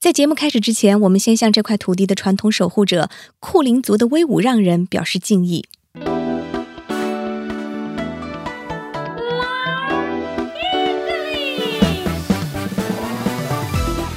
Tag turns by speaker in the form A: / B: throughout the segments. A: 在节目开始之前，我们先向这块土地的传统守护者库林族的威武让人表示敬意。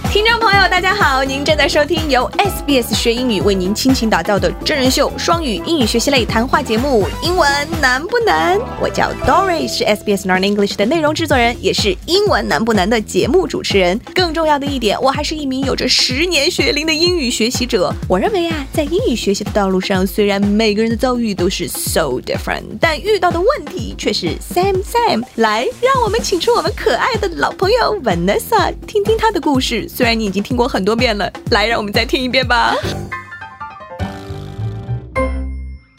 A: 听众朋友，大家好，您正在收听由 SBS 学英语为您倾情打造的真人秀双语英语学习类谈话节目《英文难不难》。我叫 Dory，是 SBS Learn English 的内容制作人，也是《英文难不难》的节目主持人。更重要的一点，我还是一名有着十年学龄的英语学习者。我认为啊，在英语学习的道路上，虽然每个人的遭遇都是 so different，但遇到的问题却是 same same。来，让我们请出我们可爱的老朋友 Vanessa，听听她的故事。虽然你已经听过很多遍了，来，让我们再听一遍吧。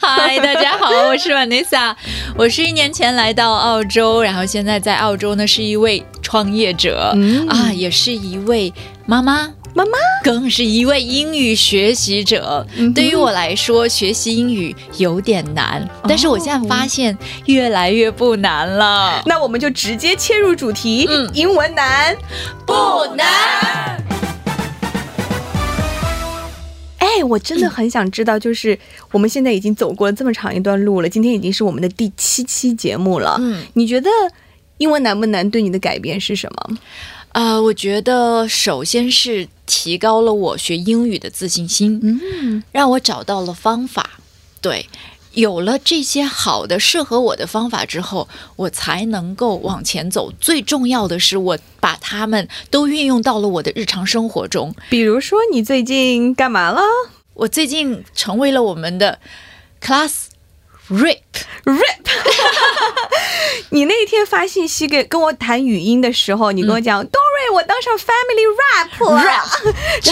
B: 嗨，大家好，我是 Vanessa，我是一年前来到澳洲，然后现在在澳洲呢是一位创业者、
A: 嗯
B: 啊，也是一位妈妈。
A: 妈妈
B: 更是一位英语学习者。
A: 嗯哼
B: 对于我来说，学习英语有点难，
A: 哦
B: 但是我现在发现越来越不难了。
A: 那我们就直接切入主题，
B: 嗯
A: 英文难。
B: 不难。
A: 哎，我真的很想知道，就是我们现在已经走过这么长一段路了，今天已经是我们的第七期节目了。
B: 嗯，
A: 你觉得英文难不难？对你的改变是什么？
B: 呃，我觉得首先是提高了我学英语的自信心，
A: 嗯，
B: 让我找到了方法。对，有了这些好的适合我的方法之后，我才能够往前走。最重要的是，我把它们都运用到了我的日常生活中。
A: 比如说你最近干嘛了
B: 我最近成为了我们的 class rip。
A: ？Rip！你那天发信息给跟我谈语音的时候，你跟我讲、d o r y 我当上 Family Rap 了
B: 嗯 Rap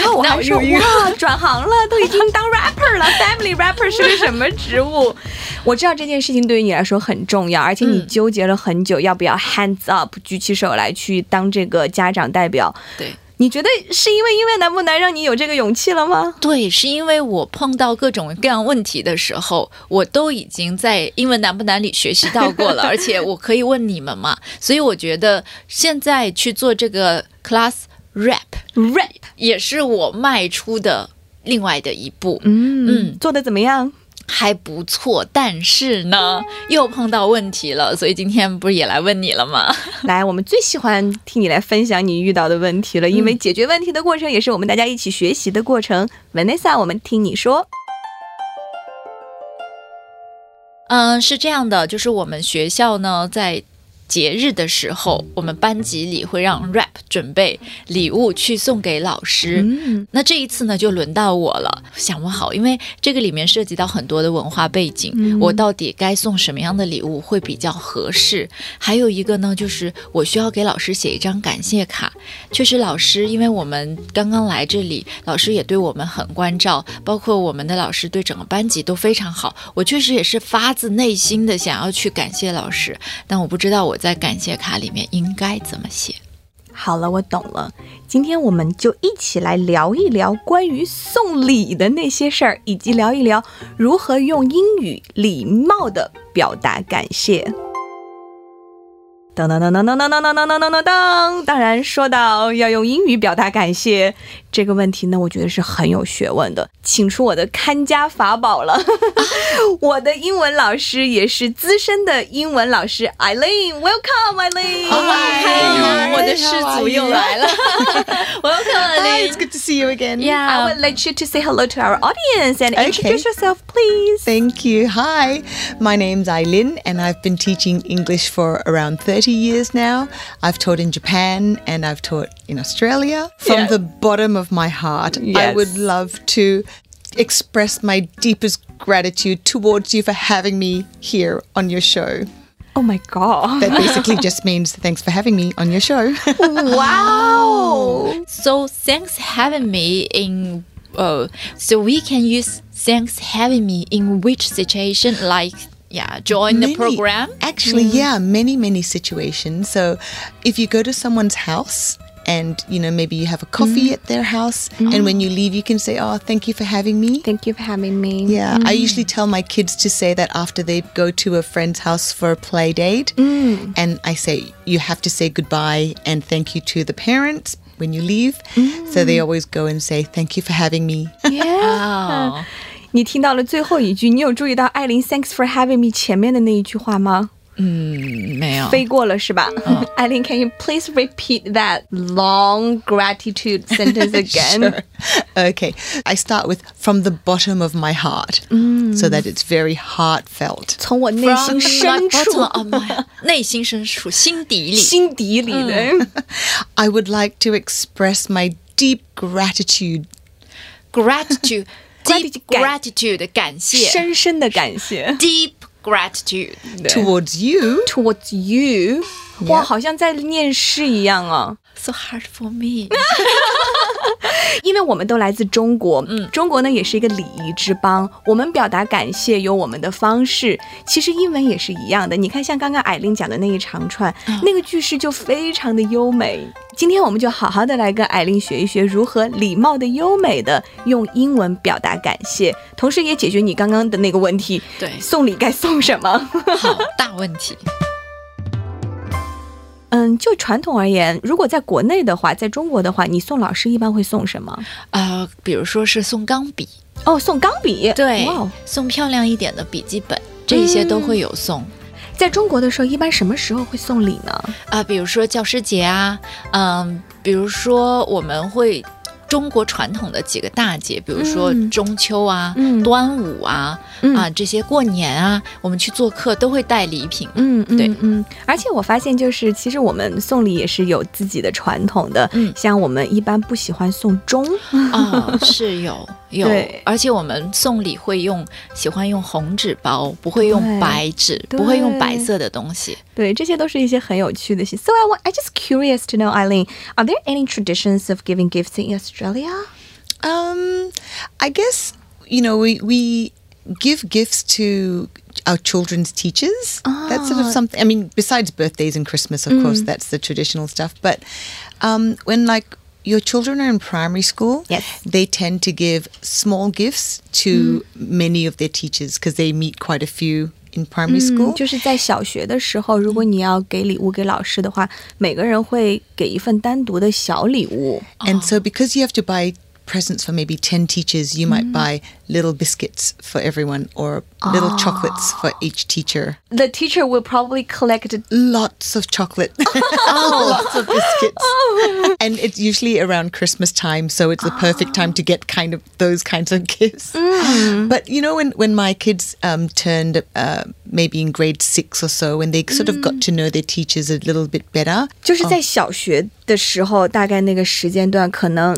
A: 然后我还说
B: 这哪有用
A: 哇，转行了，都已经当 rapper 了。Family rapper 是个什么职务？ 我知道这件事情对于你来说很重要，而且你
B: 嗯
A: 纠结了很久，要不要 hands up 举起手来去当这个家长代表？
B: 对。
A: 你觉得是因为音乐难不难让你有这个勇气了吗？
B: 对，是因为我碰到各种各样问题的时候，我都已经在英文难不难里学习到过了，而且我可以问你们嘛，所以我觉得现在去做这个 class rap
A: rap，
B: 也是我迈出的另外的一步，
A: 嗯
B: 嗯
A: 做的怎么样？
B: 还不错。但是呢，又碰到问题了，所以今天不是也来问你了吗？
A: 来，我们最喜欢听你来分享你遇到的问题了，因为解决问题的过程也是我们大家一起学习的过程。Vanessa，我们听你说。
B: 嗯，是这样的，就是我们学校呢，在节日的时候，我们班级里会让 rap 准备礼物去送给老师。
A: 嗯
B: 那这一次呢，就轮到我了，想不好，因为这个里面涉及到很多的文化背景，
A: 嗯
B: 我到底该送什么样的礼物会比较合适？还有一个呢，就是我需要给老师写一张感谢卡。确实，老师，因为我们刚刚来这里，老师也对我们很关照，包括我们的老师对整个班级都非常好。我确实也是发自内心的想要去感谢老师，但我不知道我在感谢卡里面应该怎么写。
A: 好了，我懂了。今天我们就一起来聊一聊关于送礼的那些事儿，以及聊一聊如何用英语礼貌的表达感谢。当当当当当当当当当当当当！当然，说到要用英语表达感谢这个问题呢，我觉得是很有学问的，请出我的看家法宝了。我的英文老师也是资深的英文老师 Eileen，Welcome Eileen。
B: Oh
C: Hi,
B: my
C: everyone.
B: god！我的氏族又来了，我又看了
C: Hi,
B: 你
C: it's。good to see you again.
B: Yeah.
A: I would like you to say hello to our audience and
C: Okay.
A: introduce yourself, please.
C: Thank you. Hi, my name's Eileen, and I've been teaching English for around 30 years now. I've taught in Japan and I've taught in Australia. From
A: Yes.
C: the bottom of my heart, I
A: Yes.
C: would love to express my deepest gratitude towards you for having me here on your show.
A: Oh my god.
C: That basically just means thanks for having me on your show.
A: Wow.
B: So thanks having me in. Uh, so we can use thanks having me in which situation? Like yeah, join the
C: Many-
B: program. Mm.
C: Actually, yeah, many many situations. So, if you go to someone's house and you know maybe you have a
B: Mm.
C: coffee at their house, and when you leave, you can say, "Oh, thank you for having me."
A: Thank you for having me.
C: yeah,
B: Mm.
C: I usually tell my kids to say that after they go to a friend's house for a
B: Mm.
C: play date, and I say you have to say goodbye and thank you to the parents when you leave. So
B: Mm.
C: they always go and say, Thank you for having me.
B: Wow.
A: Uh, 你听到了最后一句，你有注意到艾琳 “Thanks for having me” 前面的那一句话吗？
B: 嗯，没有。
A: 飞过了是吧？ 艾琳，Can you please repeat that long gratitude sentence again？
C: Okay. I start with from the bottom of my heart so that it's very heartfelt.
A: 从我内心
B: From the
A: 深
B: bottom
A: 处、
B: of my 内心深处、心底里。
A: 心底里的
C: I would like to express my deep gratitude
B: gratitude, deep
A: Gratitude，感
B: gratitude，感谢
A: 深深的感谢。
B: ，deep gratitude。
C: towards you.
A: Towards you，哇，好像在念诗一样啊！
B: So hard for me
A: 因为我们都来自中国，嗯，中国呢也是一个礼仪之邦，我们表达感谢有我们的方式。其实英文也是一样的，你看像刚刚艾琳讲的那一长串，那个句式就非常的优美。今天我们就好好的来跟艾琳学一学如何礼貌的、优美的用英文表达感谢，同时也解决你刚刚的那个问题，
B: 对
A: 送礼该送什么？
B: 好大问题。
A: 嗯，就传统而言，如果在国内的话，在中国的话，你送老师一般会送什么？
B: 呃，比如说是送钢笔，
A: 哦，送钢笔。
B: 对
A: 哇哦，
B: 送漂亮一点的笔记本，这些都会有送。
A: 在中国的时候，一般什么时候会送礼呢？
B: 啊，比如说教师节啊，嗯，比如说我们会中国传统的几个大节，比如说
A: 嗯
B: 中秋啊、
A: 嗯
B: 端午啊、
A: 嗯
B: 啊这些过年啊，我们去做客都会带礼品。
A: 嗯，嗯
B: 对
A: 嗯，而且我发现，就是其实我们送礼也是有自己的传统的，
B: 嗯
A: 像我们一般不喜欢送钟，
B: 啊、是有有
A: 嗯对，
B: 而且我们送礼会用喜欢用红纸包，不会用
A: 对
B: 白纸，不会用白
A: 对
B: 色的东西。
A: 对，这些都是一些很有趣的事。So I want, I just curious to know, Eileen, are there any traditions of giving gifts in Australia?
C: Um, I guess you know we we give gifts to our children's teachers. That's sort of something. I mean, besides birthdays and Christmas, of course, that's the traditional stuff. But um, when like your children are in primary school,
A: Yes.
C: they tend to give small gifts to many of their teachers because they meet quite a few in primary school.
A: 嗯就是在小学的时候，如果你要给礼物给老师的话，每个人会给一份单独的小礼物。
C: And so, because you have to buy presents for maybe 10 teachers, you might buy little biscuits for everyone or little chocolates for each teacher.
A: The teacher will probably collect
C: Lots of chocolate, lots of biscuits. And it's usually around Christmas time, so it's the perfect time to get kind of those kinds of gifts. But you know, when, when my kids um, turned uh, maybe in grade six or so, when they sort of got to know their teachers a little bit better,
A: 就是在小学的时候，大概那个时间段，可能，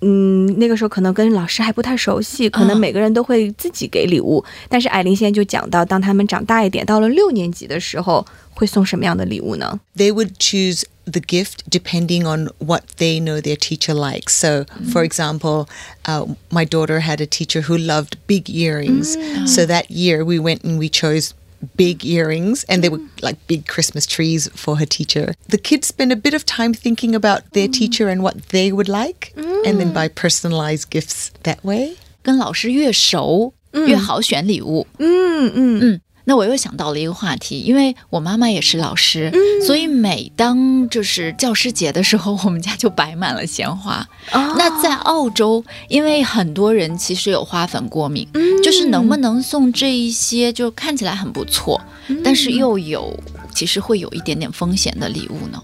A: 嗯，那个时候可能跟老师还不太熟悉，可能每个人都会自己给礼物。但是艾琳现在就讲到，当他们长大一点，到了六年级的时候，会送什么样的礼物呢？
C: they would choose the gift depending on what they know their teacher likes. So, for example, uh, my daughter had a teacher who loved big earrings. So that year we went and we chose big earrings and they were like big Christmas trees for her teacher. The kids spend a bit of time thinking about their teacher and what they would like and then buy personalized gifts that way.
B: 跟老师越熟，越好选礼物。嗯嗯嗯。那我又想到了一个话题，因为我妈妈也是老师，所以每当就是教师节的时候，我们家就摆满了鲜花。
A: 哦
B: 那在澳洲，因为很多人其实有花粉过敏，就是能不能送这一些就看起来很不错，但是又有其实会有一点点风险的礼物呢？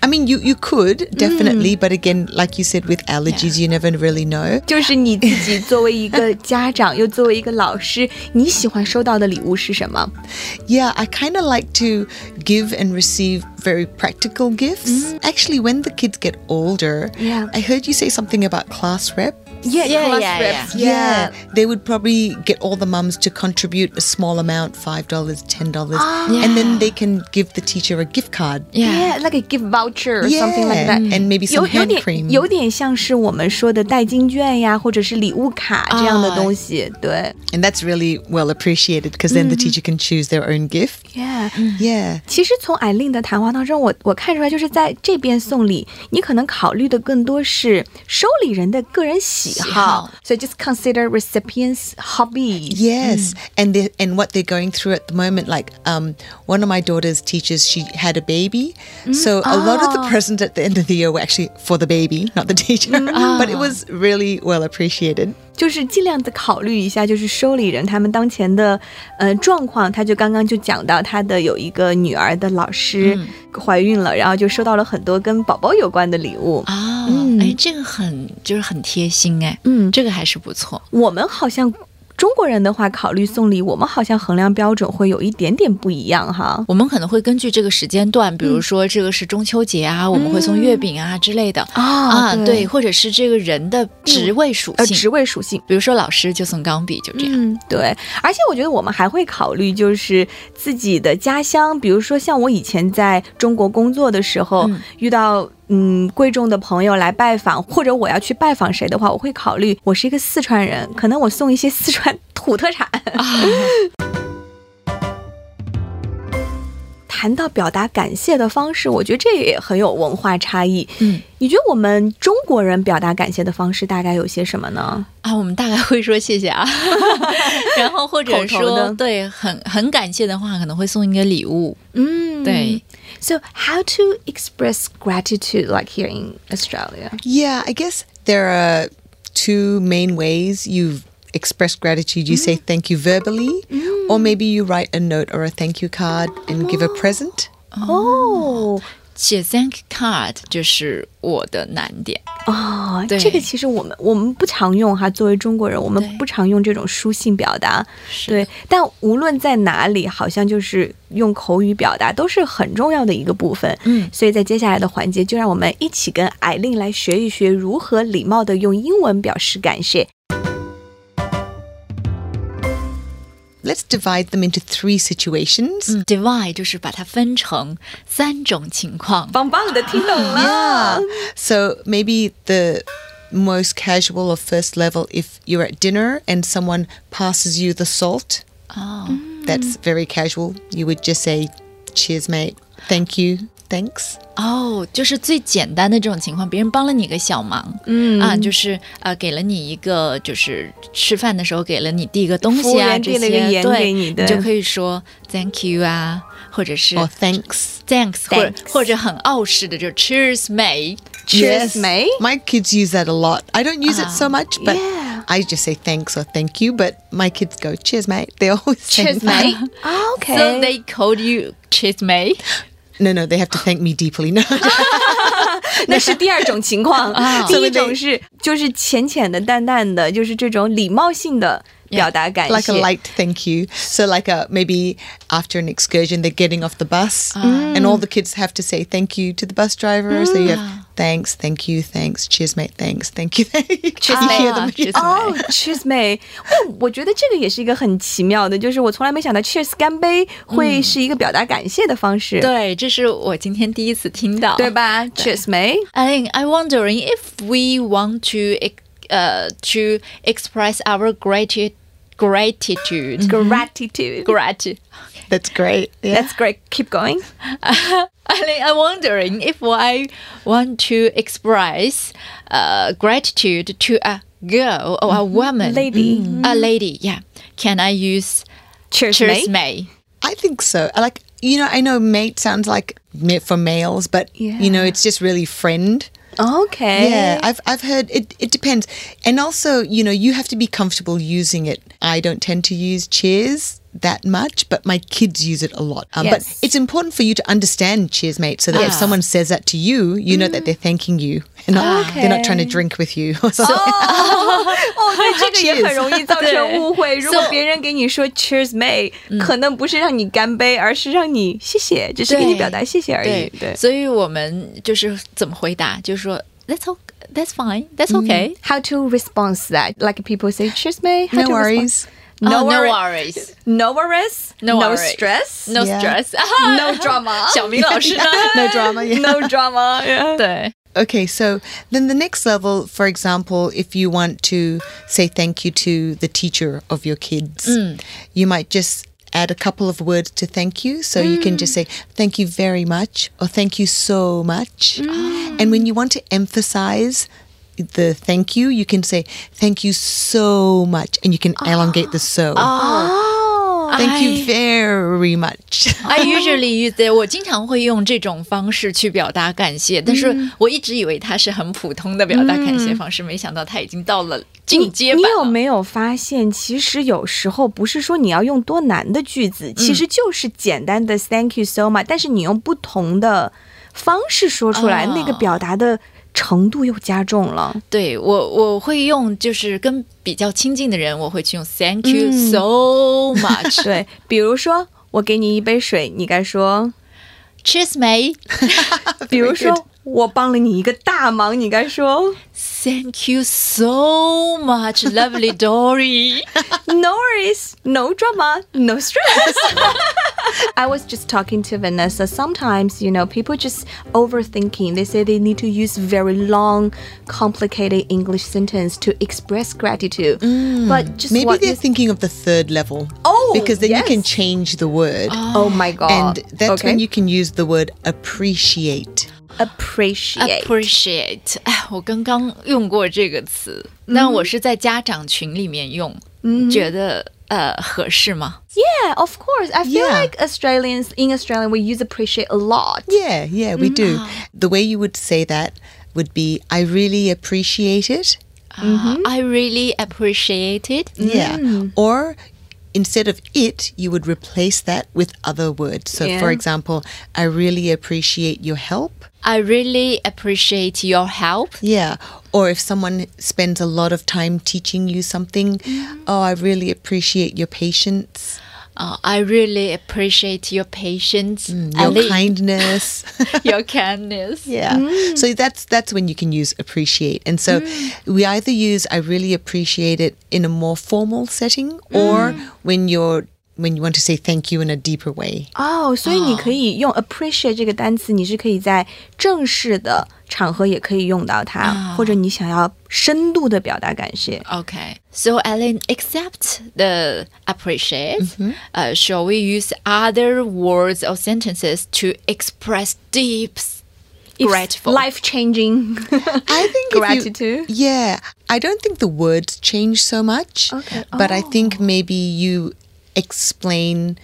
C: I mean, you, you could definitely, but again, like you said, with allergies, you never really know.
A: 就是你自己作为一个家长，又作为一个老师，你喜欢收到的礼物是什么？
C: Yeah, I kind of like to give and receive very practical gifts. Actually, when the kids get older,
A: Mm. Yeah.
C: I heard you say something about class rep.
A: Yeah,
B: Yeah,
A: class
B: yeah,
A: reps, yeah.
C: They would probably get all the mums to contribute a small amount $5, $10, and then they can give the teacher a gift card.
B: Yeah.
A: Ah. Yeah, like a gift voucher or something like that.
C: Yeah, and maybe
A: 有有
C: some hand
A: 点
C: cream.
A: 有点像是我们说的代金券呀，或者是礼物卡这样
B: 啊
A: 的东西。对
C: And that's really well appreciated because then the
A: Mm-hmm.
C: teacher can choose their own gift.
A: ，Yeah。
C: Yeah.
A: 其实从艾琳的谈话当中，我我看出来，就是在这边送礼，你可能考虑的更多是收礼人的个人喜
B: 喜
A: 好
B: 好。
A: So just consider recipients' hobbies.
C: Yes, and the, and what they're going through at the moment. Like um, one of my daughter's teachers, she had a baby, so a lot of the presents at the end of the year were actually for the baby, not the teacher.
B: 嗯
C: But it was really well appreciated.
A: 就是尽量的考虑一下，就是收礼人他们当前的呃状况。他就刚刚就讲到他的有一个女儿的老师
B: 嗯
A: 怀孕了，然后就收到了很多跟宝宝有关的礼物。
B: 啊，
A: 嗯
B: 哎，这个很就是很贴心哎，
A: 嗯
B: 这个还是不错。
A: 我们好像中国人的话，考虑送礼，我们好像衡量标准会有一点点不一样哈。
B: 我们可能会根据这个时间段，
A: 嗯
B: 比如说这个是中秋节啊，我们会送月饼啊之类的
A: 啊
B: 啊，对，，或者是这个人的职位属
A: 呃，
B: 性，
A: 职位属性。
B: 比如说老师就送钢笔，就这样。
A: 嗯，对，而且我觉得我们还会考虑就是自己的家乡，比如说像我以前在中国工作的时候，
B: 嗯
A: 遇到嗯贵重的朋友来拜访，或者我要去拜访谁的话，我会考虑我是一个四川人，可能我送一些四川土特产。
B: 啊
A: 谈到表达感谢的方式，我觉得这也很有文化差异。
B: 嗯，
A: 你觉得我们中国人表达感谢的方式大概有些什么呢？
B: 啊，我们大概会说谢谢啊， 然后或者
A: 口头的
B: 说对，很很感谢的话，可能会送一个礼物。
A: 嗯，
B: 对。
A: So, how to express gratitude like here in Australia?
C: Yeah, I guess there are two main ways you express gratitude. You say thank you verbally, or maybe you write a note or a thank you card and give a present.
A: 哦
B: 写 thank card 就是我的难点。
A: 哦，
B: 对
A: 这个其实我们我们不常用哈，作为中国人，我们
B: 对
A: 不常用这种书信表达。
B: 是
A: 对，但无论在哪里，好像就是用口语表达都是很重要的一个部分。
B: 嗯
A: 所以在接下来的环节，就让我们一起跟艾琳来学一学如何礼貌的用英文表示感谢。
C: Let's divide them into three situations.
B: d i v i d e 就是把它分成三种情况。
A: 棒棒的，听懂
B: 嗯
A: 了。
C: So maybe the most casual or first level, if you're at dinner and someone passes you the salt,
B: 哦，
A: Oh.
C: that's very casual. You would just say, "Cheers, mate. Thank you. Thanks."
B: 哦，就是最简单的这种情况，别人帮了你个小忙，
A: 嗯
B: 啊，就是呃，给了你一个，就是吃饭的时候给了你递一个东
A: 服务
B: 西啊，
A: 员
B: 这
A: 递了个
B: 些，
A: 盐给
B: 对，
A: 你对
B: 就可以说 thank you 啊，或者是
C: Or thanks.
B: thanks，或者
A: Thanks
B: 或者很傲视的就 cheers mate。
A: Cheers, mate. Ah,
C: My kids use that a lot. I don't use it so much, but
A: yeah.
C: I just say thanks or thank you. But my kids go, "Cheers, mate." They always say
A: Cheers,
C: that.
A: mate. 啊 Okay.
B: So they called you cheers mate。
C: No, no, they have to thank me deeply. No.
A: 那是第二种情况，
B: 啊
A: 第一种是就是浅浅的、淡淡的，就是这种礼貌性的表达感谢。
C: like a light thank you. So like a maybe after an excursion they're getting off the bus
B: Ah.
C: and all the kids have to say thank you to the bus driver. So you
B: Ah.
C: have thanks, thank you, thanks, cheers mate, thanks, thank you, thanks.
B: Cheers,
C: you
B: mate.
C: hear them.
B: Ah, cheers.
A: 哦、c h e e r s 妹，我我觉得这个也是一个很奇妙的，就是我从来没想到 Cheers 干杯会是一个表达感谢的方式，
B: 对，这是我今天第一次听到，
A: 对吧？Cheers 妹，
B: I I'm wondering if we want to ex- uh to express our grati- gratitude
A: 嗯 Gratitude.
B: gratitude.
C: That's great. Yeah.
A: That's great. Keep going.
B: I think I'm wondering if I want to express uh gratitude to a girl or a woman,
A: Mm-hmm. Lady. Mm-hmm.
B: Mm, a lady. Yeah, can I use
A: Cheers, mate.
B: cheers, May?
C: I think so. I Like you know, I know mate sounds like mate for males, but you know,
A: Yeah.
C: it's just really friend.
A: Okay.
C: Yeah, I've I've heard it. It depends, and also you know you have to be comfortable using it. I don't tend to use cheers that much, but my kids use it a lot. Um,
A: Yes.
C: But it's important for you to understand cheers, mate, so that if
B: Ah.
C: someone says that to you, you know that they're thanking you and not, they're not trying to drink with you. Or something.
A: Oh, 哦，对，这个也很容易造成
B: 对
A: 误 会。如果
B: So-
A: 别人给你说 Cheers, mate，、可能不是让你干杯，而是让你谢谢，只是给你表达谢谢而已。对。
B: 所以我们就是怎么回答，就是说 That's o That's fine. That's okay.
A: How to respond to that? Like people say, "Cheers, mate." How
C: no
A: to
C: worries.
A: respond?
B: Oh,
A: No,
B: no
A: worries.
B: worries.
A: No worries.
B: No worries.
A: stress.
B: No
C: Yeah.
B: stress.
A: No drama.
B: 小明老师 呢？
C: no drama. Yeah.
A: No drama. yeah.
B: 对，
C: Okay, so then the next level, for example, if you want to say thank you to the teacher of your kids,
A: Mm.
C: you might just add a couple of words to thank you. So you can
A: Mm.
C: just say thank you
A: Mm.
C: very much or thank you so much. And when you want to emphasize the thank you, you can say thank you so much, and you can elongate the so.
A: Ah. Oh.
C: Thank
B: I-
C: you very much.
B: I usually use that，我经常会用这种方式去表达感谢，但是我一直以为它是很普通的表达感谢方式，没想到它已经到了进阶版
A: 你
B: 了。
A: 有没有发现，其实有时候不是说你要用多难的句子，
B: 嗯
A: 其实就是简单的 “thank you so much”，但是你用不同的方式说出来，
B: 哦
A: 那个表达的程度又加重了。
B: 对我我会用，就是跟比较亲近的人，我会去用 Thank you
A: 嗯
B: so much，
A: 对，比如说我给你一杯水，你该 说；
B: Cheers, mate.
A: 比如说我帮了你一个大忙，你该说
B: Thank you so much, lovely Dory.
A: “No worries, no drama, no stress”。I was just talking to Vanessa. Sometimes, you know, people just overthinking. They say they need to use very long, complicated English sentence to express gratitude. But just
C: Mm. Maybe
A: what
C: they're
A: you-
C: thinking of the third level.
A: Oh,
C: because then you can
A: yes.
C: change the word.
A: oh my god!
C: And that's
A: okay.
C: when you can use the word appreciate.
A: appreciate.
B: Appreciate，哎，我刚刚用过这个词，那我是在家长群里面用，觉得呃合适吗？
A: yeah, of course. I feel
C: Yeah.
A: like Australians in Australia we use appreciate a lot.
C: Yeah, yeah, we do.
A: Mm.
C: The way you would say that would be I really appreciate it.
B: 啊、i really appreciate it。
C: Yeah.
A: Mm.
C: Or instead of it, you would replace that with other words. So,
A: Yeah.
C: for example, I really appreciate your help.
B: I really appreciate your help.
C: Yeah. Or if someone spends a lot of time teaching you something,
A: Mm.
C: oh, I really appreciate your patience,
B: 啊、i really appreciate your patience.
C: your
B: and
C: kindness.
B: your kindness.
C: Yeah. So that's that's when you can use appreciate. And so we either use I really appreciate it in a more formal setting or when you're when you want to say thank you in a deeper way.
A: 哦，所以你
C: 嗯
A: 可以用 appreciate 这个单词，你是可以在正式的场合也可以用到它，或
C: 啊
A: 者你想要深度的表达感谢。
B: Okay. So, Ellen, except the appreciate, uh, shall we use other words or sentences to express deep grateful?
A: life changing.
C: I think if you-
A: gratitude.
C: yeah, I don't think the words change so much,
A: Okay.
C: but I think maybe you explain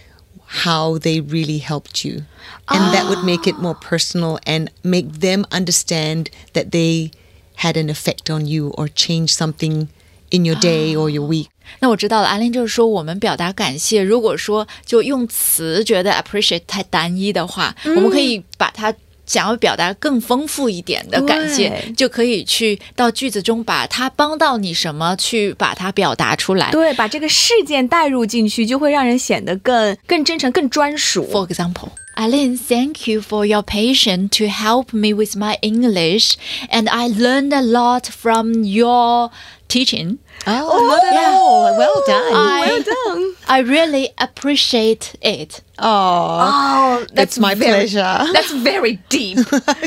C: how they really helped you, and that would make it more personal and make them understand that they had an effect on you or changed something in your day or your week.
B: 那我知道了，阿玲就是说，我们表达感谢，如果说就用词觉得 appreciate 太单一的话，我们可以把它想要表达更丰富一点的感谢
A: 对，
B: 就可以去到句子中把它帮到你什么，去把它表达出来。
A: 对，把这个事件带入进去，就会让人显得更更真诚、更专属。
B: For example, Aline, thank you for your patience to help me with my English, and I learned a lot from your teaching.
C: Oh, not at
B: yeah.
C: all. Well done.
B: I, I really appreciate it.
C: Oh,
A: Oh,
C: that's my pleasure.
A: That's very deep 。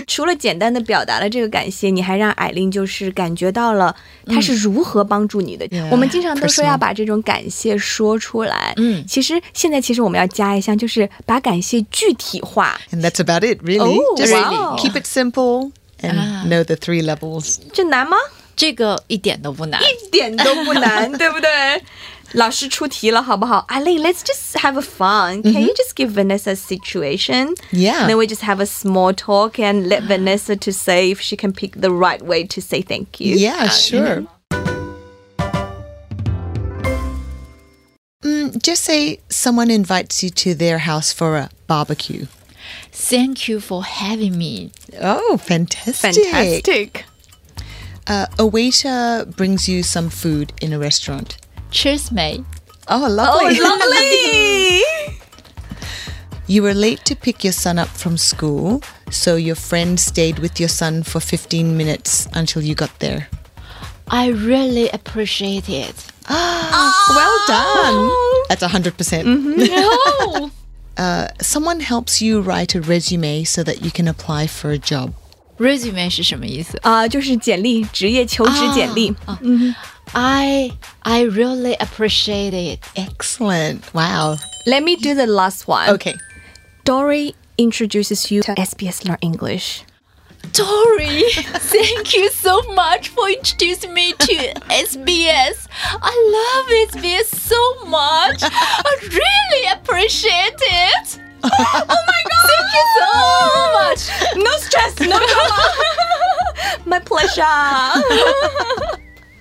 A: 除了简单的表达了这个感谢，你还让艾琳就是感觉到了她是如何帮助你的。
C: Yeah，
A: 我们经常都说
C: personal
A: 要把这种感谢说出来，
B: 嗯
A: 其实现在其实我们要加一项，就是把感谢具体化。
C: And that's about it, really.
A: Oh,
C: Just
A: wow.
C: keep it simple and know the three levels.
A: 这难吗？
B: 这个一点都不难。
A: 一点都不难，对不对？ 老师出题了，好不好？Eileen, let's just have a fun. Can you just give Vanessa a situation?
C: Yeah.
A: Then we just have a small talk and let Vanessa to say if she can pick the right way to say thank you.
C: Yeah, sure. Mm, just say someone invites you to their house for a barbecue.
B: Thank you for having me.
C: Oh, fantastic.
A: Fantastic.
C: Uh, a waiter brings you some food in a restaurant.
B: Cheers, mate.
C: Oh, lovely.
A: Lovely.
C: you were late to pick your son up from school, so your friend stayed with your son for 15 minutes until you got there.
B: I really appreciate it.
C: Well done. Mm-hmm. That's 100%. percent
B: No.
C: Someone helps you write a resume so that you can apply for a job.
B: Resume 是什么意思
A: 啊、Uh, 就是简历，职业求职简历。
C: Oh,
B: ？I I really appreciate it.
C: Excellent. Wow.
A: Let me do the last one.
C: Okay.
A: Dory introduces you to SBS Learn English.
B: Tori, thank you so much for introducing me to SBS. I love SBS so much. I really appreciate it.
A: Oh my god! Thank you so much. No stress, no drama. My pleasure.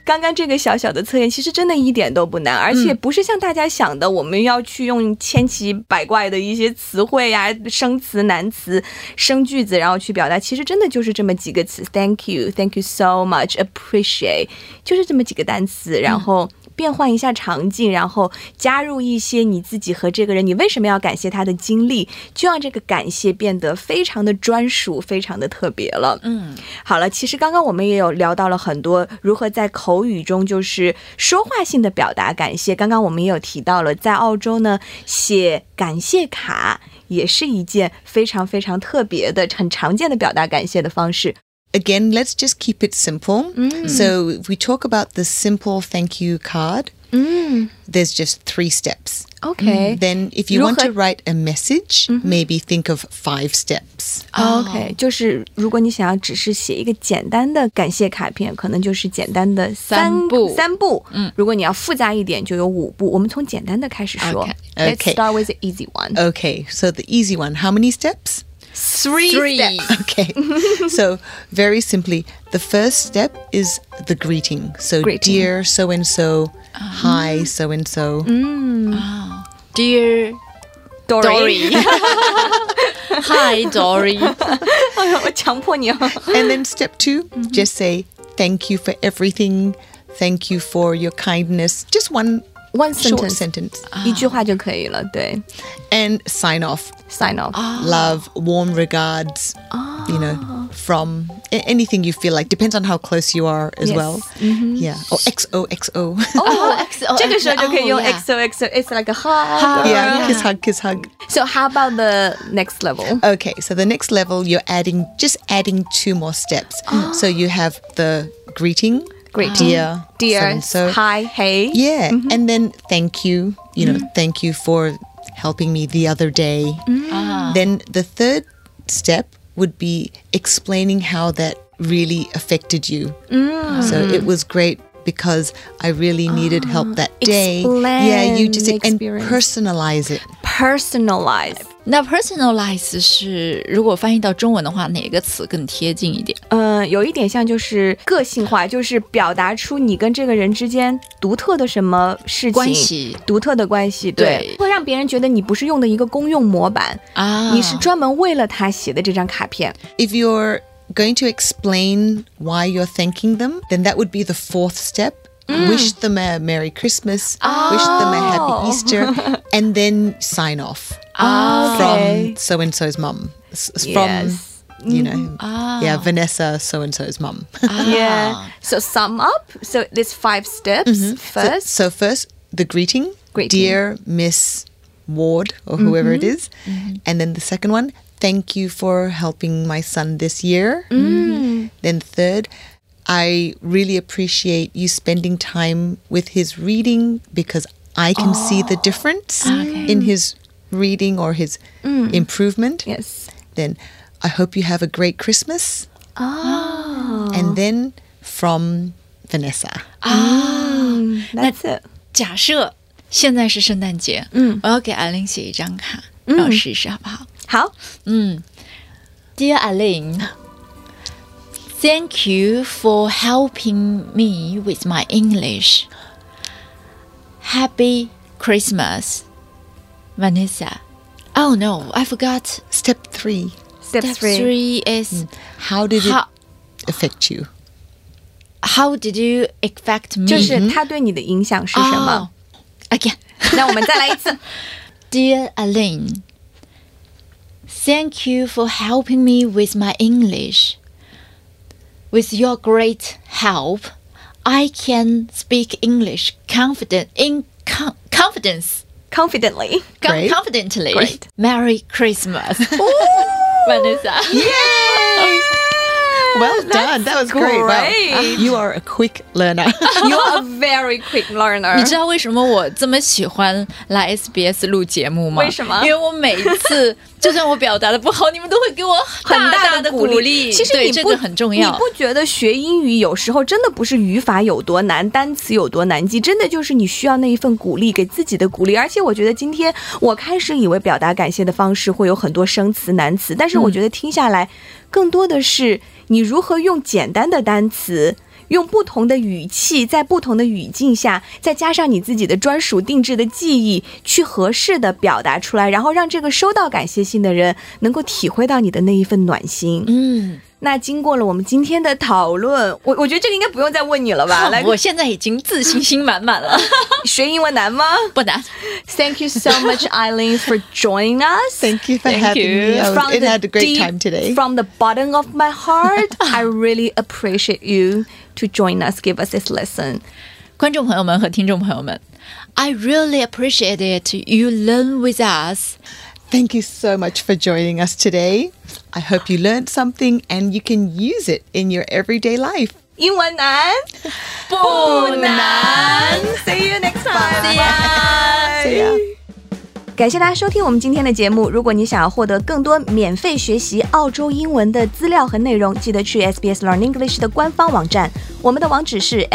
A: 刚刚这个小小的测验，其实真的一点都不难，而且不是像大家想的，我们要去用千奇百怪的一些词汇呀、生词、难词、生句子，然后去表达。其实真的就是这么几个词：thank you, thank you so much, appreciate，就是这么几个单词，然后。变换一下场景，然后加入一些你自己和这个人，你为什么要感谢他的经历，就让这个感谢变得非常的专属，非常的特别了。嗯，好了，其实刚刚我们也有聊到了很多如何在口语中就是说话性的表达感谢。刚刚我们也有提到了，在澳洲呢，写感谢卡也是一件非常非常特别的、很常见的表达感谢的方式。
C: Again, let's just keep it simple. So if we talk about the simple thank you card, there's just three steps.
A: OK，OK，、
C: Then if you
A: Roja-
C: want to write a message, maybe think of five steps.
A: OK，就是如果你想要只是写一个简单的感谢卡片，可能就是简单的三
B: 三步
A: 三步。嗯，如果你要复杂一点，就有五步。我们从简单的开始说。
C: Okay.
A: Let's start with the easy one.
C: Okay, so the easy one. How many steps?
A: Three.
B: Three.
A: steps.
C: Okay. so, very simply, the first step is the greeting. So,
A: Greeting.
C: dear so and so, hi so and so.
B: Dear Dory, hi Dory.
A: 哎呦，我强迫你哦。
C: And then step 2 just say thank you for everything. Thank you for your kindness. Just one
A: One
C: short
A: sentence，
C: sentence.
A: 一句话就可以了。对
C: And sign off.
A: ，sign off。
C: 哦 Love, warm regards,
A: Ah.
C: you know, from a- anything you feel like. Depends on how close you are as
A: Yes. Mm-hmm.
C: well. Yeah. Or XOXO.
B: Oh, XO,
A: 哦这个时候就可以用
B: oh, yeah.
A: XOXO。It's like a hug.
B: Hug.
C: yeah.
B: yeah.
C: Kiss, hug, kiss, hug.
A: So how about the next level?
C: Okay, so the next level, you're adding just adding two more steps.
A: Ah.
C: So you have the greeting,
A: Greeting.
C: dear,
A: Ah. Dear,
C: so
A: hi, hey.
C: yeah,
A: Mm-hmm.
C: and then thank you. You know, thank you for helping me the other day.
A: Mm-hmm.
C: Then the third step would be explaining how that really affected you.
A: Mm.
C: So it was great because I really needed help that day. yeah, you just
A: Ah. Explain the
C: and
A: experience.
C: personalize it.
A: Personalize.
B: 那 personalize 是如果翻译到中文的话，哪个词更贴近一点？
A: 嗯，有一点像就是个性化，就是表达出你跟这个人之间独特的什么事情
B: 关系
A: 独特的关系，对，
B: 对
A: 会让别人觉得你不是用的一个公用模板，
B: 啊，
A: 你是专门为了他写的这张卡片。
C: If you're going to explain why you're thanking them, then that would be the fourth step.
A: Mm.
C: Wish them a Merry Christmas, wish them a
A: Oh.
C: Happy Easter, and then sign off
A: 啊 Okay.
C: from so and so's mum. S- s- From,
A: Yes. Mm. Ah.
C: you know, yeah, Vanessa, so and so's mum.
A: Yeah. So sum up. So there's five steps. First,
C: so, first, the greeting,
A: Greeting. Mm-hmm.
C: Dear Miss Ward, or whoever it is. And then the second one, Thank you for helping my son this year.
A: Mm.
C: Mm. Then third, I really appreciate you spending time with his reading because I can see
A: Oh.
C: the difference in his reading or his
A: Mm.
C: improvement.
A: yes.
C: Then I hope you have a great Christmas.
A: Oh.
C: And then from Vanessa.
A: That's it.
B: 假设现在是圣诞节，嗯，我要给艾琳写一张卡，让我试一试好不好？
A: 好，
B: Dear Eileen, thank you for helping me with my English. Happy Christmas, Vanessa. Oh no, I forgot.
C: Step three.
A: step,
B: Step
A: three. Mm.
B: three is
C: How did
B: how,
C: it affect you?
B: how did you affect me? Ah.
A: 就是他对你的影响是什么？
B: Oh, again.
A: 那我们再来一次。
B: Dear Aline, thank you for helping me with my English. With your great help, I can speak English confident in con- confidence.
A: Confidently.
B: con-
C: Great.
B: Confidently.
A: Great.
B: Merry Christmas. Vanessa.
A: Yay!
C: Well done. That was great. Wow.
A: great.
C: You are a quick learner.
A: You are a very quick learner.
B: 你知道为什么我这么喜欢来 SBS 录节目吗？
A: 为什么
B: 因为我每一次， 就算我表达的不好，你们都会给我
A: 很
B: 大
A: 的
B: 的鼓励。
A: 其实
B: 对
A: 你
B: 这
A: 不
B: 个很重要。
A: 你不觉得学英语有时候真的不是语法有多难，单词有多难记，真的就是你需要那一份鼓励，给自己的鼓励。而且我觉得今天我开始以为表达感谢的方式会有很多生词难词，但是我觉得听下来，更多的是你如何用简单的单词。用不同的语气，在不同的语境下，再加上你自己的专属定制的记忆，去合适的表达出来，然后让这个收到感谢信的人能够体会到你的那一份暖心。
B: 嗯，
A: 那经过了我们今天的讨论，我我觉得这个应该不用再问你 了吧？来，
B: 哦我现在已经自信心满满了，
A: 学英文难吗
B: 不难。
A: ？Thank you so much, Eileen, for joining us.
C: Thank you for
B: Thank
C: having
B: you.
C: me. I was-
A: From
C: it
A: the
C: had a great
A: deep-
C: time today.
A: From the bottom of my heart, I really appreciate you to join us, give us this lesson.
B: 观众朋友们和听众朋友们，I really appreciate it. You learn with us.
C: Thank you so much for joining us today. I hope you learned something and you can use it in your everyday life.
A: 英文难
B: 不难。
A: ，See you next time.
B: See ya.
A: Bye.
C: See ya.
A: 感谢大家收听我们今天的节目。如果你想要获得更多免费学习澳洲英文的资料和内容，记得去 SBS Learn English 的官方网站。我们的网址是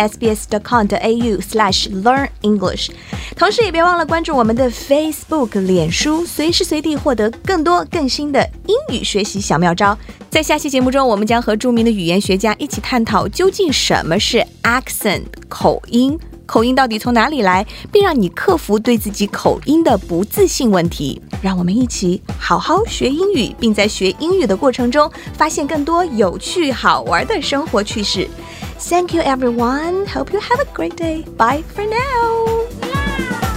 A: sbs.com.au/learnenglish。同时，也别忘了关注我们的 Facebook 脸书，随时随地获得更多更新的英语学习小妙招。在下期节目中，我们将和著名的语言学家一起探讨究竟什么是 accent 口音。口音到底从哪里来，并让你克服对自己口音的不自信问题。让我们一起好好学英语，并在学英语的过程中发现更多有趣好玩的生活趣事。Thank you, everyone. Hope you have a great day. Bye for now.